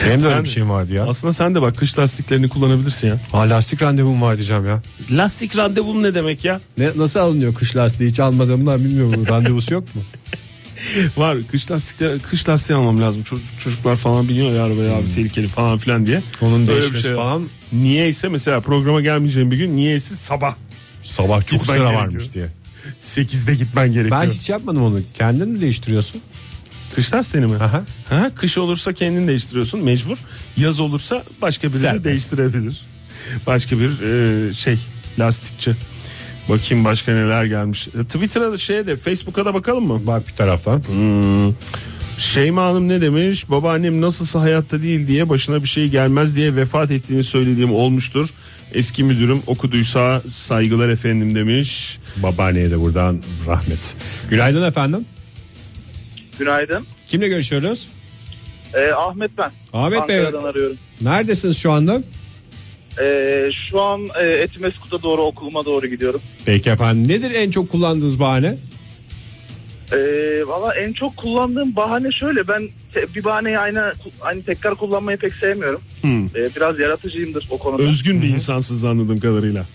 Benim de öyle
Sen-
bir şeyim vardı ya.
Aslında sen de bak kış lastiklerini kullanabilirsin ya.
Ha, lastik randevum var diyeceğim ya.
Lastik randevum ne demek ya?
Ne, nasıl alınıyor kış lastiği hiç almadığımdan bilmiyorum. Randevusu yok mu?
Var kış lastikler kış lastiği almam lazım. Çocuk- çocuklar falan biniyor ya arabaya abi tehlikeli falan filan diye.
Onun
Hmm. Öyle bir
değişmesi
şey yok.
falan
Niyeyse mesela programa gelmeyeceğim bir gün niyeyse sabah
sabah çok
Gitmen
sıra
gerekiyor.
varmış diye.
8'de gitmen gerekiyor.
Ben hiç yapmadım onu. Kendin mi değiştiriyorsun?
Kış lastiğini mi?
Aha.
Ha, kış olursa kendin değiştiriyorsun mecbur. Yaz olursa başka biri
Serbest.
de değiştirebilir. Başka bir e, şey lastikçi. Bakayım başka neler gelmiş. E, Twitter'a da şeye de Facebook'a da bakalım mı?
Bak bir taraftan.
Hmm. Şeyma Hanım ne demiş? Babaannem nasılsa hayatta değil diye başına bir şey gelmez diye vefat ettiğini söylediğim olmuştur. Eski müdürüm okuduysa saygılar efendim demiş.
Babaanneye de buradan rahmet. Günaydın efendim.
Günaydın.
Kimle görüşüyoruz?
Ee, Ahmet ben.
Ahmet Bey
Ankara'dan arıyorum.
neredesiniz şu anda?
Ee, şu an e, Etimeskut'a doğru okuluma doğru gidiyorum.
Peki efendim nedir en çok kullandığınız bahane?
Ee, Valla en çok kullandığım bahane şöyle. Ben te- bir bahaneyi aynı, aynı tekrar kullanmayı pek sevmiyorum.
Hmm.
Ee, biraz yaratıcıyımdır o konuda.
Özgün bir insansız anladığım kadarıyla.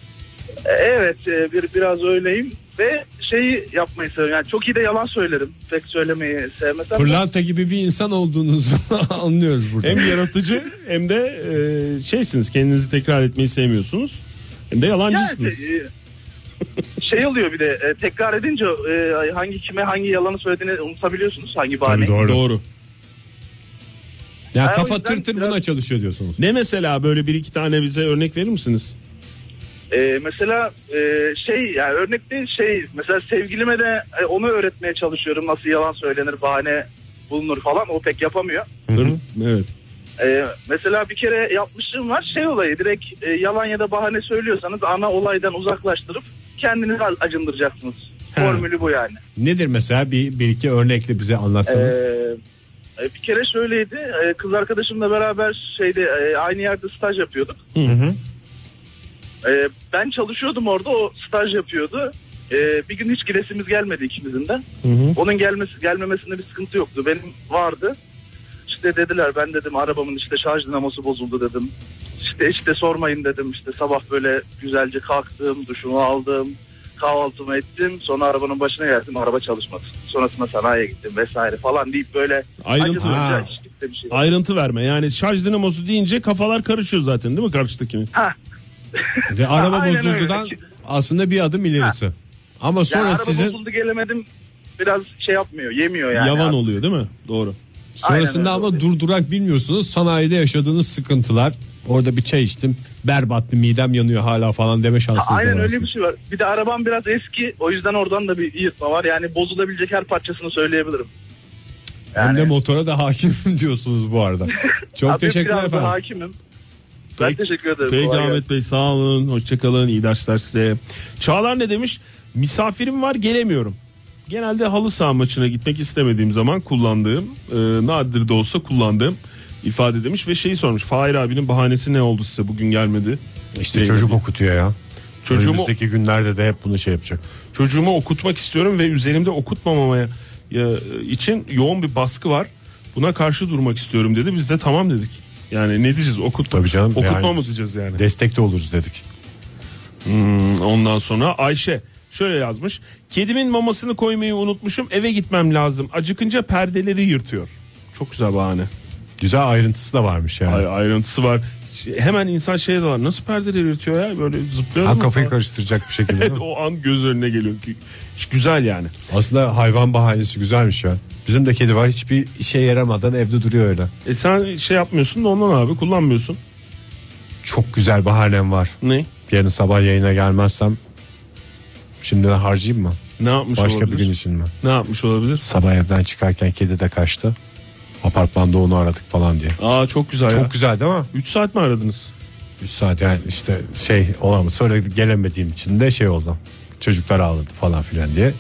Ee, evet e, bir, biraz öyleyim. Ve şeyi yapmayı seviyorum. Yani çok iyi de yalan söylerim. Pek söylemeyi sevmesem. de.
Pırlanta gibi bir insan olduğunuzu anlıyoruz burada.
Hem yaratıcı hem de e, şeysiniz kendinizi tekrar etmeyi sevmiyorsunuz. Hem de yalancısınız.
Yani, şey, e, şey oluyor bir de e, tekrar edince e, hangi kime hangi yalanı söylediğini unutabiliyorsunuz hangi bahane.
doğru.
Doğru.
Ya
Ay, o
kafa
yüzden
tır tır
biraz-
buna çalışıyor diyorsunuz.
Ne mesela böyle bir iki tane bize örnek verir misiniz?
E, mesela e, şey yani örnek değil şey mesela sevgilime de e, onu öğretmeye çalışıyorum nasıl yalan söylenir bahane bulunur falan o pek yapamıyor.
Ör- Evet.
E, mesela bir kere yapmışlığım var şey olayı direkt e, yalan ya da bahane söylüyorsanız ana olaydan uzaklaştırıp kendinizi a- acındıracaksınız.
He.
Formülü bu yani.
Nedir mesela bir, bir iki örnekle bize anlatsanız.
Ee, e, bir kere şöyleydi. e, Kız arkadaşımla beraber şeyde e, aynı yerde staj yapıyorduk. E, Ben çalışıyordum orada o staj yapıyordu. E, Bir gün hiç gidesimiz gelmedi ikimizin de. Onun gelmesi gelmemesinde bir sıkıntı yoktu. Benim vardı. İşte dediler ben dedim arabamın işte şarj dinamosu bozuldu dedim. İşte işte sormayın dedim. İşte sabah böyle güzelce kalktım, duşumu aldım, kahvaltımı ettim. Sonra arabanın başına geldim. Araba çalışmadı. Sonrasında sanayiye gittim vesaire falan deyip böyle
Ayrıntı,
Ha.
acıtınca işte bir şey.
ayrıntı verme. Yani şarj dinamosu deyince kafalar karışıyor zaten değil mi karşıdakinin?
Ve araba
Aynen öyle.
bozuldudan aslında bir adım ilerisi. Ama
Yani
sonra
araba
sizin
bozuldu gelemedim. Biraz şey yapmıyor, yemiyor yani.
Yavan
Abi.
oluyor değil mi? Doğru.
sonrasında
Aynen öyle
ama durdurak bilmiyorsunuz. Sanayide yaşadığınız sıkıntılar. Orada bir çay içtim. Berbat bir midem yanıyor hala falan deme şansınız da
Aynen
var
öyle
aslında.
bir şey var. Bir de arabam biraz eski. O yüzden oradan da bir yırtma var. Yani bozulabilecek her parçasını söyleyebilirim.
Hem
Yani-
de motora da hakim diyorsunuz bu arada. Çok
Abi
teşekkürler
biraz da
efendim.
hakimim. Ben
Peki-
teşekkür ederim.
Peki
Kolay gelsin.
Ahmet Bey sağ olun. Hoşçakalın. İyi dersler size. Çağlar ne demiş? Misafirim var gelemiyorum. Genelde halı saha maçına gitmek istemediğim zaman kullandığım e, nadir de olsa kullandığım ifade demiş ve şeyi sormuş. Fahir abinin bahanesi ne oldu size bugün gelmedi?
İşte çocuk okutuyor ya.
Çocuğumu,
Önümüzdeki günlerde de hep bunu şey yapacak.
çocuğumu okutmak istiyorum ve üzerimde okutmamamaya ya, için yoğun bir baskı var. Buna karşı durmak istiyorum dedi. Biz de tamam dedik. Yani ne diyeceğiz? Okut,
Tabii canım,
Okutma
yani-
mı diyeceğiz yani?
Destek de oluruz dedik.
Ondan sonra Ayşe şöyle yazmış. Kedimin mamasını koymayı unutmuşum eve gitmem lazım. Acıkınca perdeleri yırtıyor. Çok güzel bahane.
Güzel ayrıntısı da varmış yani.
Ay- ayrıntısı var. Şey- Hemen insan şeye dalar. Nasıl perdeleri yırtıyor ya böyle zıplıyor.
Ha
mu?
kafayı karıştıracak bir şekilde. değil mi?
o an göz önüne geliyor. ki Güzel yani.
Aslında hayvan bahanesi güzelmiş ya. Bizim de kedi var hiçbir işe yaramadan evde duruyor öyle.
E sen şey yapmıyorsun da ondan abi kullanmıyorsun.
Çok güzel bahanem var.
Ne?
Yarın sabah yayına gelmezsem şimdiden harcayayım mı?
Ne yapmış
Başka
olabilir?
bir gün için mi?
Ne yapmış olabilir?
Sabah evden çıkarken kedi de kaçtı. Apartmanda onu aradık falan diye.
Aa çok güzel ya.
Çok güzel değil mi?
3 saat mi aradınız?
3 saat yani işte şey olamadı. Sonra gelemediğim için de şey oldu. Çocuklar ağladı falan filan diye.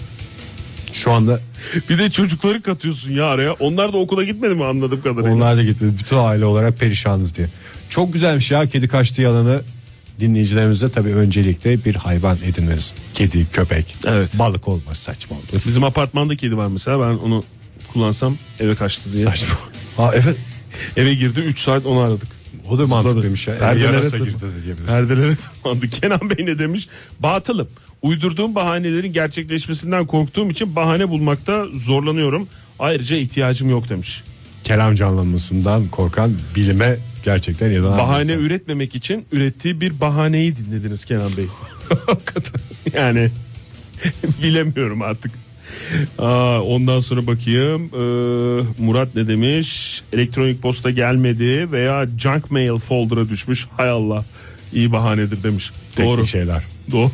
Şu anda
Bir de çocukları katıyorsun ya araya. Onlar da okula gitmedi mi anladığım kadarıyla.
Onlar da gitti. Bütün aile olarak perişanız diye. Çok güzelmiş ya kedi kaçtı yalanı. Dinleyicilerimize tabii öncelikle bir hayvan edinmeniz. Kedi, köpek,
Evet.
balık olmaz saçma olur.
Bizim apartmanda kedi var mesela ben onu kullansam eve kaçtı diye.
Saçma. Ha evet.
Eve girdi 3 saat onu aradık.
O da mantıklıymış ya.
Perdelere
Yarasa
tırman-
girdi de diyebiliriz.
Perdelere tırmandı. Kenan Bey ne demiş? Batılım. Uydurduğum bahanelerin gerçekleşmesinden korktuğum için bahane bulmakta zorlanıyorum. Ayrıca ihtiyacım yok demiş.
Kelam canlanmasından korkan bilime gerçekten inanan
Bahane
insan.
üretmemek için ürettiği bir bahaneyi dinlediniz Kenan Bey. yani bilemiyorum artık. Aa, ondan sonra bakayım. Ee, Murat ne demiş? Elektronik posta gelmedi veya junk mail folder'a düşmüş. Hay Allah. iyi bahanedir demiş.
Tek
Doğru.
tek şeyler.
Doğru.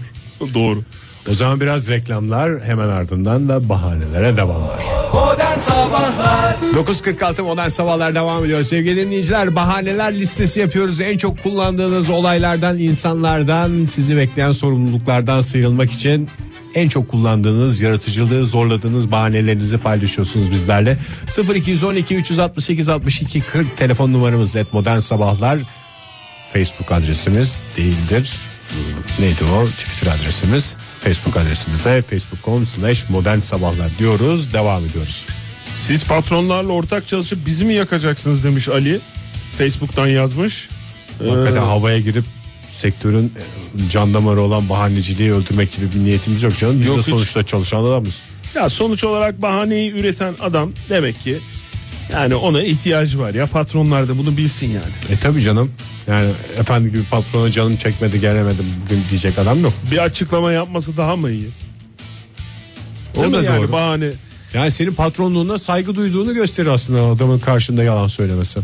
Doğru.
O zaman biraz reklamlar hemen ardından da bahanelere devamlar.
Modern Sabahlar
9.46 modern sabahlar devam ediyor sevgili dinleyiciler bahaneler listesi yapıyoruz en çok kullandığınız olaylardan insanlardan sizi bekleyen sorumluluklardan sıyrılmak için en çok kullandığınız yaratıcılığı zorladığınız bahanelerinizi paylaşıyorsunuz bizlerle 0212 368 62 40 telefon numaramız et modern sabahlar Facebook adresimiz değildir neydi o Twitter adresimiz Facebook adresimiz de facebook.com slash modern sabahlar diyoruz devam ediyoruz.
Siz patronlarla ortak çalışıp bizi mi yakacaksınız demiş Ali. Facebook'tan yazmış. Ee,
Hakikaten havaya girip sektörün e, can damarı olan bahaneciliği öldürmek gibi bir niyetimiz yok canım. Biz
Yok
de
hiç.
sonuçta çalışan adamız.
Ya sonuç olarak bahaneyi üreten adam demek ki yani ona ihtiyacı var ya patronlar da bunu bilsin yani.
E tabi canım. Yani efendi gibi patrona canım çekmedi gelemedim bugün diyecek adam yok.
Bir açıklama yapması daha mı iyi?
O
Değil
da
mi yani
doğru.
bahane.
Yani senin patronluğuna saygı duyduğunu gösterir aslında adamın karşında yalan söylemesi.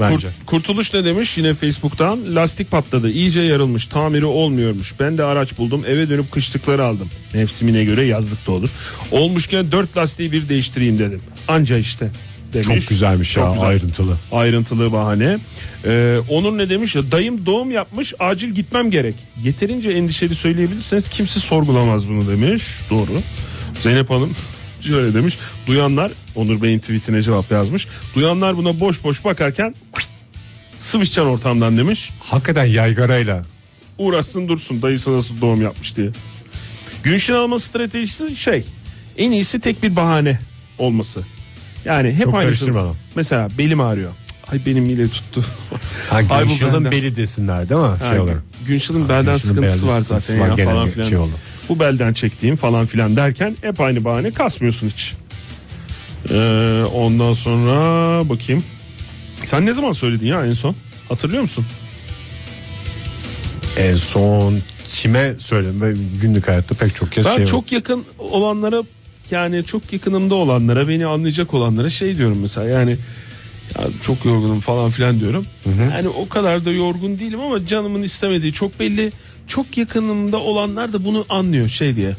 Bence.
Kurt- Kurtuluş ne demiş yine Facebook'tan lastik patladı iyice yarılmış tamiri olmuyormuş ben de araç buldum eve dönüp kışlıkları aldım mevsimine göre yazlık da olur olmuşken dört lastiği bir değiştireyim dedim anca işte demiş.
Çok güzelmiş
Çok
ya
güzel.
ayrıntılı.
ayrıntılı bahane. Ee, onun ne demiş? Dayım doğum yapmış acil gitmem gerek. Yeterince endişeli söyleyebilirseniz kimse sorgulamaz bunu demiş. Doğru. Zeynep Hanım şöyle demiş. Duyanlar Onur Bey'in tweetine cevap yazmış. Duyanlar buna boş boş bakarken sıvışcan ortamdan demiş.
Hakikaten yaygarayla.
Uğraşsın dursun dayısı nasıl doğum yapmış diye. Gülşin Hanım'ın stratejisi şey en iyisi tek bir bahane olması. Yani hep
Çok
aynısı.
karıştırmadan.
Mesela belim ağrıyor. Cık, Ay benim ile tuttu.
Ha,
Ay bu
Gülşah'ın
benden-
beli desinler değil mi? Şey
Ha,
olur.
Günşil'in belden
Gülşin'in
sıkıntısı
belden
var
sıkıntısı
zaten
var,
ya
gene
falan
bir
filan.
şey oldu.
Bu belden çektiğim falan filan derken hep aynı bahane kasmıyorsun hiç. Ee, ondan sonra bakayım. Sen ne zaman söyledin ya en son? Hatırlıyor musun?
En son kime söyledim? Ve Günlük hayatta pek çok kez
Ben
şey
çok yakın olanlara yani çok yakınımda olanlara beni anlayacak olanlara şey diyorum mesela yani ya çok yorgunum falan filan diyorum. Yani o kadar da yorgun değilim ama canımın istemediği çok belli. Çok yakınımda olanlar da bunu anlıyor şey diye.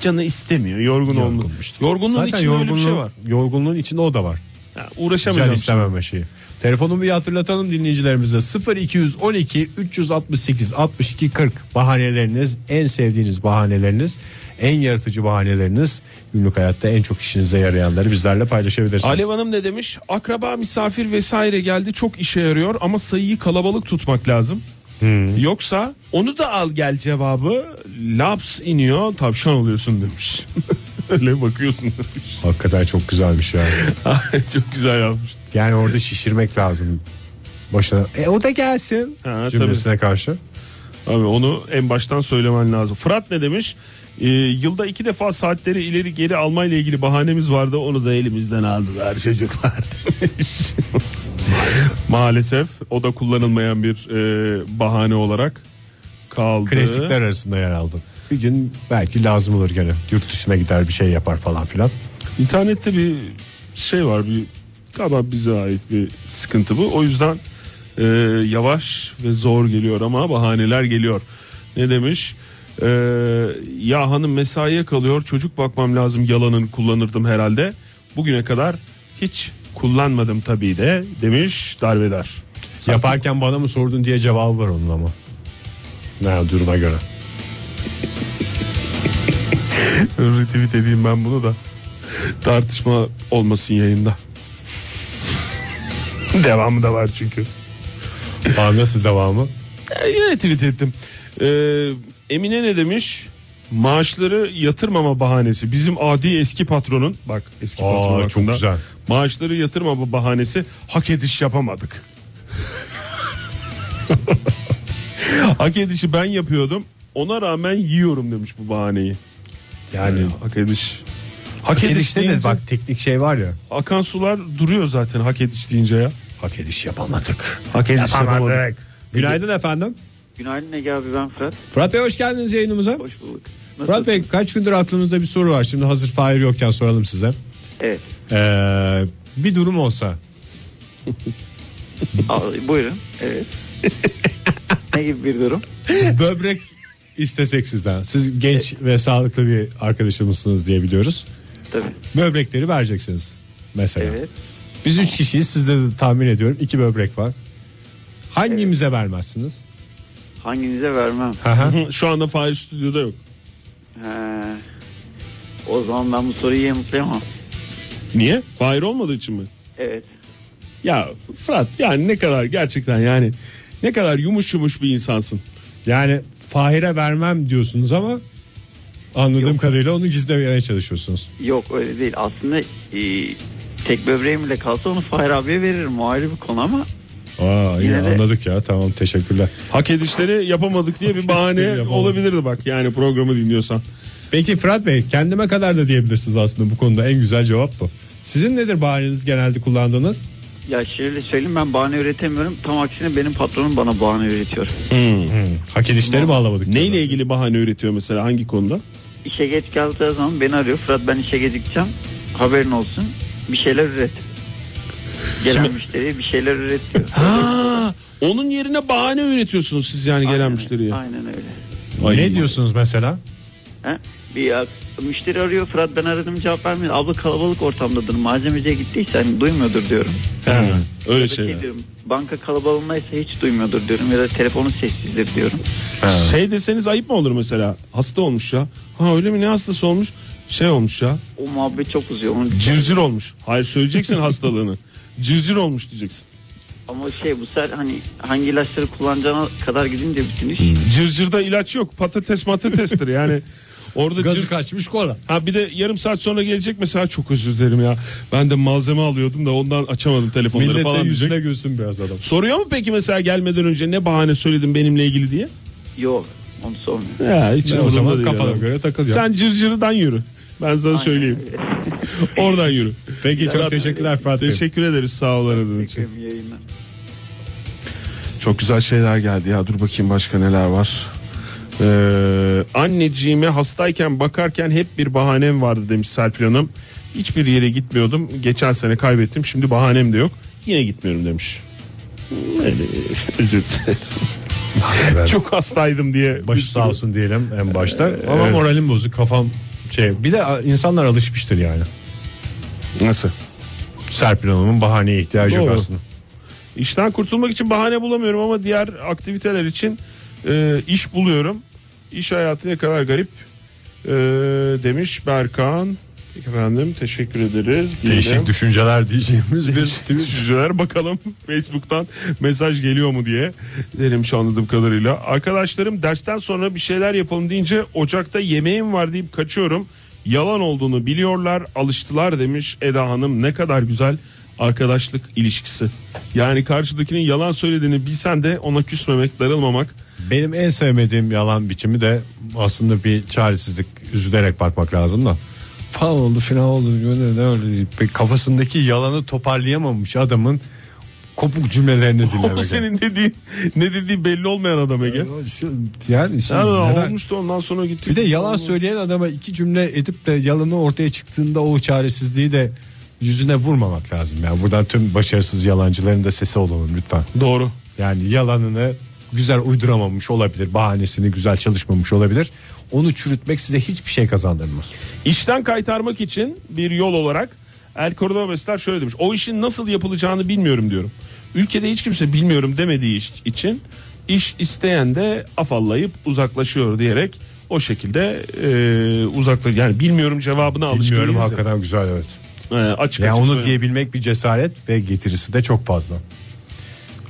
Canı istemiyor yorgun olmuş.
Yorgunmuş.
Yorgunluğun içinde öyle bir şey var.
Yorgunluğun içinde o da var.
Ya
Can
uğraşamayacağım.
istememe şeyi. Telefonumu bir hatırlatalım dinleyicilerimize. 0212 368 62 40 bahaneleriniz, en sevdiğiniz bahaneleriniz, en yaratıcı bahaneleriniz, günlük hayatta en çok işinize yarayanları bizlerle paylaşabilirsiniz.
Alev Hanım ne demiş? Akraba, misafir vesaire geldi çok işe yarıyor ama sayıyı kalabalık tutmak lazım. Hmm. Yoksa onu da al gel cevabı laps iniyor tavşan oluyorsun demiş. Öyle bakıyorsun demiş.
Hakikaten çok güzelmiş yani.
Ay, çok güzel yapmış.
Yani orada şişirmek lazım. Başına e o da gelsin
Ha,
cümlesine karşı.
Abi onu en baştan söylemen lazım. Fırat ne demiş? Ee, yılda iki defa saatleri ileri geri almayla ilgili bahanemiz vardı. Onu da elimizden aldılar şey çocuklar demiş. Maalesef o da kullanılmayan bir e, bahane olarak kaldı.
Klasikler arasında yer aldı. Bir gün belki lazım olur gene. Yurt dışına gider bir şey yapar falan filan.
İnternette bir şey var bir galiba bize ait bir sıkıntı bu. O yüzden e, yavaş ve zor geliyor ama bahaneler geliyor. Ne demiş? E, ya hanım mesaiye kalıyor çocuk bakmam lazım yalanını kullanırdım herhalde. Bugüne kadar hiç kullanmadım tabii de demiş darveder. Sen-
Yaparken bana mı sordun diye cevabı var onun ama. Ne duruma göre.
Retweet edeyim ben bunu da tartışma olmasın yayında. Devamı da var çünkü.
Aa, nasıl devamı?
Ya Yine tweet ettim. Ee, Emine ne demiş? Maaşları yatırmama bahanesi. Bizim adi eski patronun bak eski patron
Aa, çok
hakkında.
güzel.
Maaşları yatırmama bahanesi hak ediş yapamadık. hak edişi ben yapıyordum. Ona rağmen yiyorum demiş bu bahaneyi.
Yani
hak ediş. Hak,
Ee, hak
ediş
edişte de
deyince
bak teknik şey var ya.
akan sular duruyor zaten hak ediş deyince ya.
Hak ediş yapamadık.
Hak ediş yapamadık.
Günaydın efendim.
Günaydın Ege abi ben Fırat.
Fırat Bey hoş geldiniz yayınımıza.
Hoş bulduk.
Murat Bey kaç gündür aklınızda bir soru var. Şimdi hazır Fahir yokken soralım size.
Evet.
Ee, bir durum olsa
Al, buyurun. Evet. ne gibi bir durum?
böbrek istesek sizden. Siz genç ve sağlıklı bir arkadaşımızsınız diye biliyoruz.
Tabii.
Böbrekleri vereceksiniz mesela.
Evet.
Biz üç kişiyiz sizde de tahmin ediyorum iki böbrek var. Hangimize vermezsiniz?
Hanginize vermem?
Haha.
Şu anda Fahir stüdyoda yok.
He. O zaman ben bu soruyu yanıtlayamam.
Niye? Fahir olmadığı için mi?
Evet.
Ya Fırat yani ne kadar gerçekten yani ne kadar yumuş yumuş bir insansın.
yani Fahir'e vermem diyorsunuz ama anladığım kadarıyla onu gizlemeye çalışıyorsunuz.
Yok öyle değil. Aslında e, tek böbreğim bile kalsa onu Fahir abiye veririm. O ayrı bir konu ama
Aa, iyi,
Yine de-
anladık ya tamam teşekkürler.
Hak edişleri yapamadık diye bir bahane
yapamadık.
olabilirdi bak yani programı dinliyorsan.
Peki Fırat Bey kendime kadar da diyebilirsiniz aslında bu konuda en güzel cevap bu. Sizin nedir bahaneniz genelde kullandığınız?
ya şöyle söyleyeyim ben bahane üretemiyorum. Tam aksine benim patronum bana bahane üretiyor.
Hak edişleri bağlamadık.
Neyle ilgili bahane üretiyor mesela hangi konuda?
İşe geç kaldığı zaman beni arıyor. Fırat ben işe gecikeceğim. Haberin olsun. Bir şeyler üret. Gelen müşteriye bir şeyler üret diyor.
Ha, onun yerine bahane üretiyorsunuz siz yani gelen
Aynen-
müşteriye.
Aynen öyle.
Ne diyorsunuz mesela?
He? Bir ak- müşteri arıyor Fırat ben aradım cevap vermiyor. Abla kalabalık ortamdadır malzemeciye gittiyse hani duymuyordur diyorum.
Ha, öyle
Ya da şey
şeyler.
diyorum, banka kalabalığındaysa hiç duymuyordur diyorum ya da telefonu sessizdir diyorum.
Şey deseniz ayıp mı olur mesela? Hasta olmuş ya. Ha öyle mi ne hastası olmuş? Şey olmuş ya.
O muhabbet çok uzuyor. Onun
Cırcır olmuş. Hayır söyleyeceksin hastalığını. Cırcır olmuş diyeceksin.
Ama şey bu sefer hani hangi ilaçları kullanacağına kadar gidince bütün iş.
Hmm. Cırcırda ilaç yok. Patates matatestir yani. Orada cır-
Gazı kaçmış kola.
Ha bir de yarım saat sonra gelecek mesela çok özür dilerim ya. Ben de malzeme alıyordum da ondan açamadım telefonları
Millete
falan diyecek.
yüzüne gülsün biraz adam.
Soruyor mu peki mesela gelmeden önce ne bahane söyledim benimle ilgili diye?
Yok onu sormuyor.
Ya hiç
o
umurumda
zaman
değil
kafana
adam.
göre takıl ya.
Sen cırcırıdan yürü. Ben sana
Aynen
söyleyeyim.
öyle.
Oradan yürü.
Peki çok
Fırat-
teşekkürler Fırat Bey.
Teşekkür ederiz sağ ol aradığın için.
Teşekkür ederim, yayınlar.
Çok güzel şeyler geldi ya dur bakayım başka neler var. Ee, anneciğime hastayken bakarken hep bir bahanem vardı demiş Serpil Hanım. Hiçbir yere gitmiyordum. Geçen sene kaybettim. Şimdi bahanem de yok. Yine gitmiyorum demiş. Öyle, özür dilerim. Çok hastaydım diye.
Başı sağ olsun diyelim en başta. Ama
evet.
Ee, moralim bozuk kafam şey. Bir de a, insanlar alışmıştır yani.
Nasıl?
Serpil Hanım'ın bahaneye ihtiyacı yok
Doğru.
aslında.
İşten kurtulmak için bahane bulamıyorum ama diğer aktiviteler için e, iş buluyorum. İş hayatı ne kadar garip e, demiş Berkan. Peki Efendim teşekkür ederiz.
Değişik düşünceler diyeceğimiz bir
Düşünceler bakalım Facebook'tan mesaj geliyor mu diye denemiş anladığım kadarıyla. Arkadaşlarım dersten sonra bir şeyler yapalım deyince ocakta yemeğim var deyip kaçıyorum. Yalan olduğunu biliyorlar alıştılar demiş Eda Hanım ne kadar güzel arkadaşlık ilişkisi. Yani karşıdakinin yalan söylediğini bilsen de ona küsmemek darılmamak.
Benim en sevmediğim yalan biçimi de aslında bir çaresizlik üzülerek bakmak lazım da. Falan oldu falan oldu ne, ne öyle deyip, bir kafasındaki yalanı toparlayamamış adamın kopuk cümlelerini
O
dinlemek.
senin dediğin ne dediği belli olmayan adam Ege.
yani işte
Ya
neden-
olmuştu ondan sonra gitti.
Bir de yalan söyleyen adama iki cümle edip de yalanı ortaya çıktığında o çaresizliği de yüzüne vurmamak lazım. Yani buradan tüm başarısız yalancıların da sesi olalım lütfen.
Doğru.
Yani yalanını güzel uyduramamış olabilir. Bahanesini güzel çalışmamış olabilir. Onu çürütmek size hiçbir şey kazandırmaz.
İşten kaytarmak için bir yol olarak El Cordobesler şöyle demiş. O işin nasıl yapılacağını bilmiyorum diyorum. Ülkede hiç kimse bilmiyorum demediği iş için iş isteyen de afallayıp uzaklaşıyor diyerek o şekilde e, uzakla yani bilmiyorum cevabına alışkın
Bilmiyorum
değiliz ya.
hakikaten güzel evet.
E, açık
Yani
açık
onu
söylüyorum.
diyebilmek bir cesaret ve getirisi de çok fazla.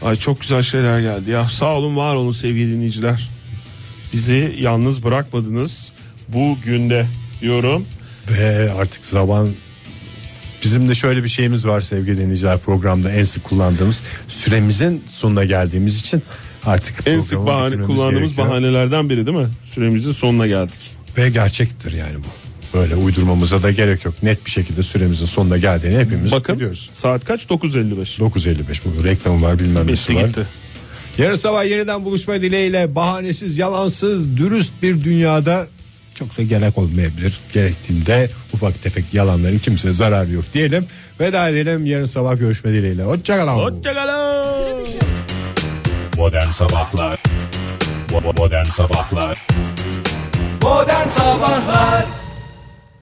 Ay çok güzel şeyler geldi ya. Sağ olun var olun sevgili dinleyiciler. Bizi yalnız bırakmadınız bugün de diyorum.
Ve artık zaman bizim de şöyle bir şeyimiz var sevgili dinleyiciler programda en sık kullandığımız süremizin sonuna geldiğimiz için artık
En
programı
sık bahane
bitirmemiz
kullandığımız
gerekiyor.
bahanelerden biri değil mi? Süremizin sonuna geldik.
ve gerçektir yani bu. Böyle uydurmamıza da gerek yok. Net bir şekilde süremizin sonuna geldiğini hepimiz
Bakın
biliyoruz.
saat kaç? 9.55.
9.55 bu reklamı var bilmem nesi
Bitti
var.
gitti.
Yarın sabah yeniden buluşma dileğiyle bahanesiz, yalansız, dürüst bir dünyada Çok da gerek olmayabilir. Gerektiğinde ufak tefek yalanların kimseye zararı yok diyelim. Veda edelim yarın sabah görüşme dileğiyle. Hoşçakalın.
Hoşçakalın.
Modern Sabahlar Bo- Modern Sabahlar
Oh, Modern Sabahlar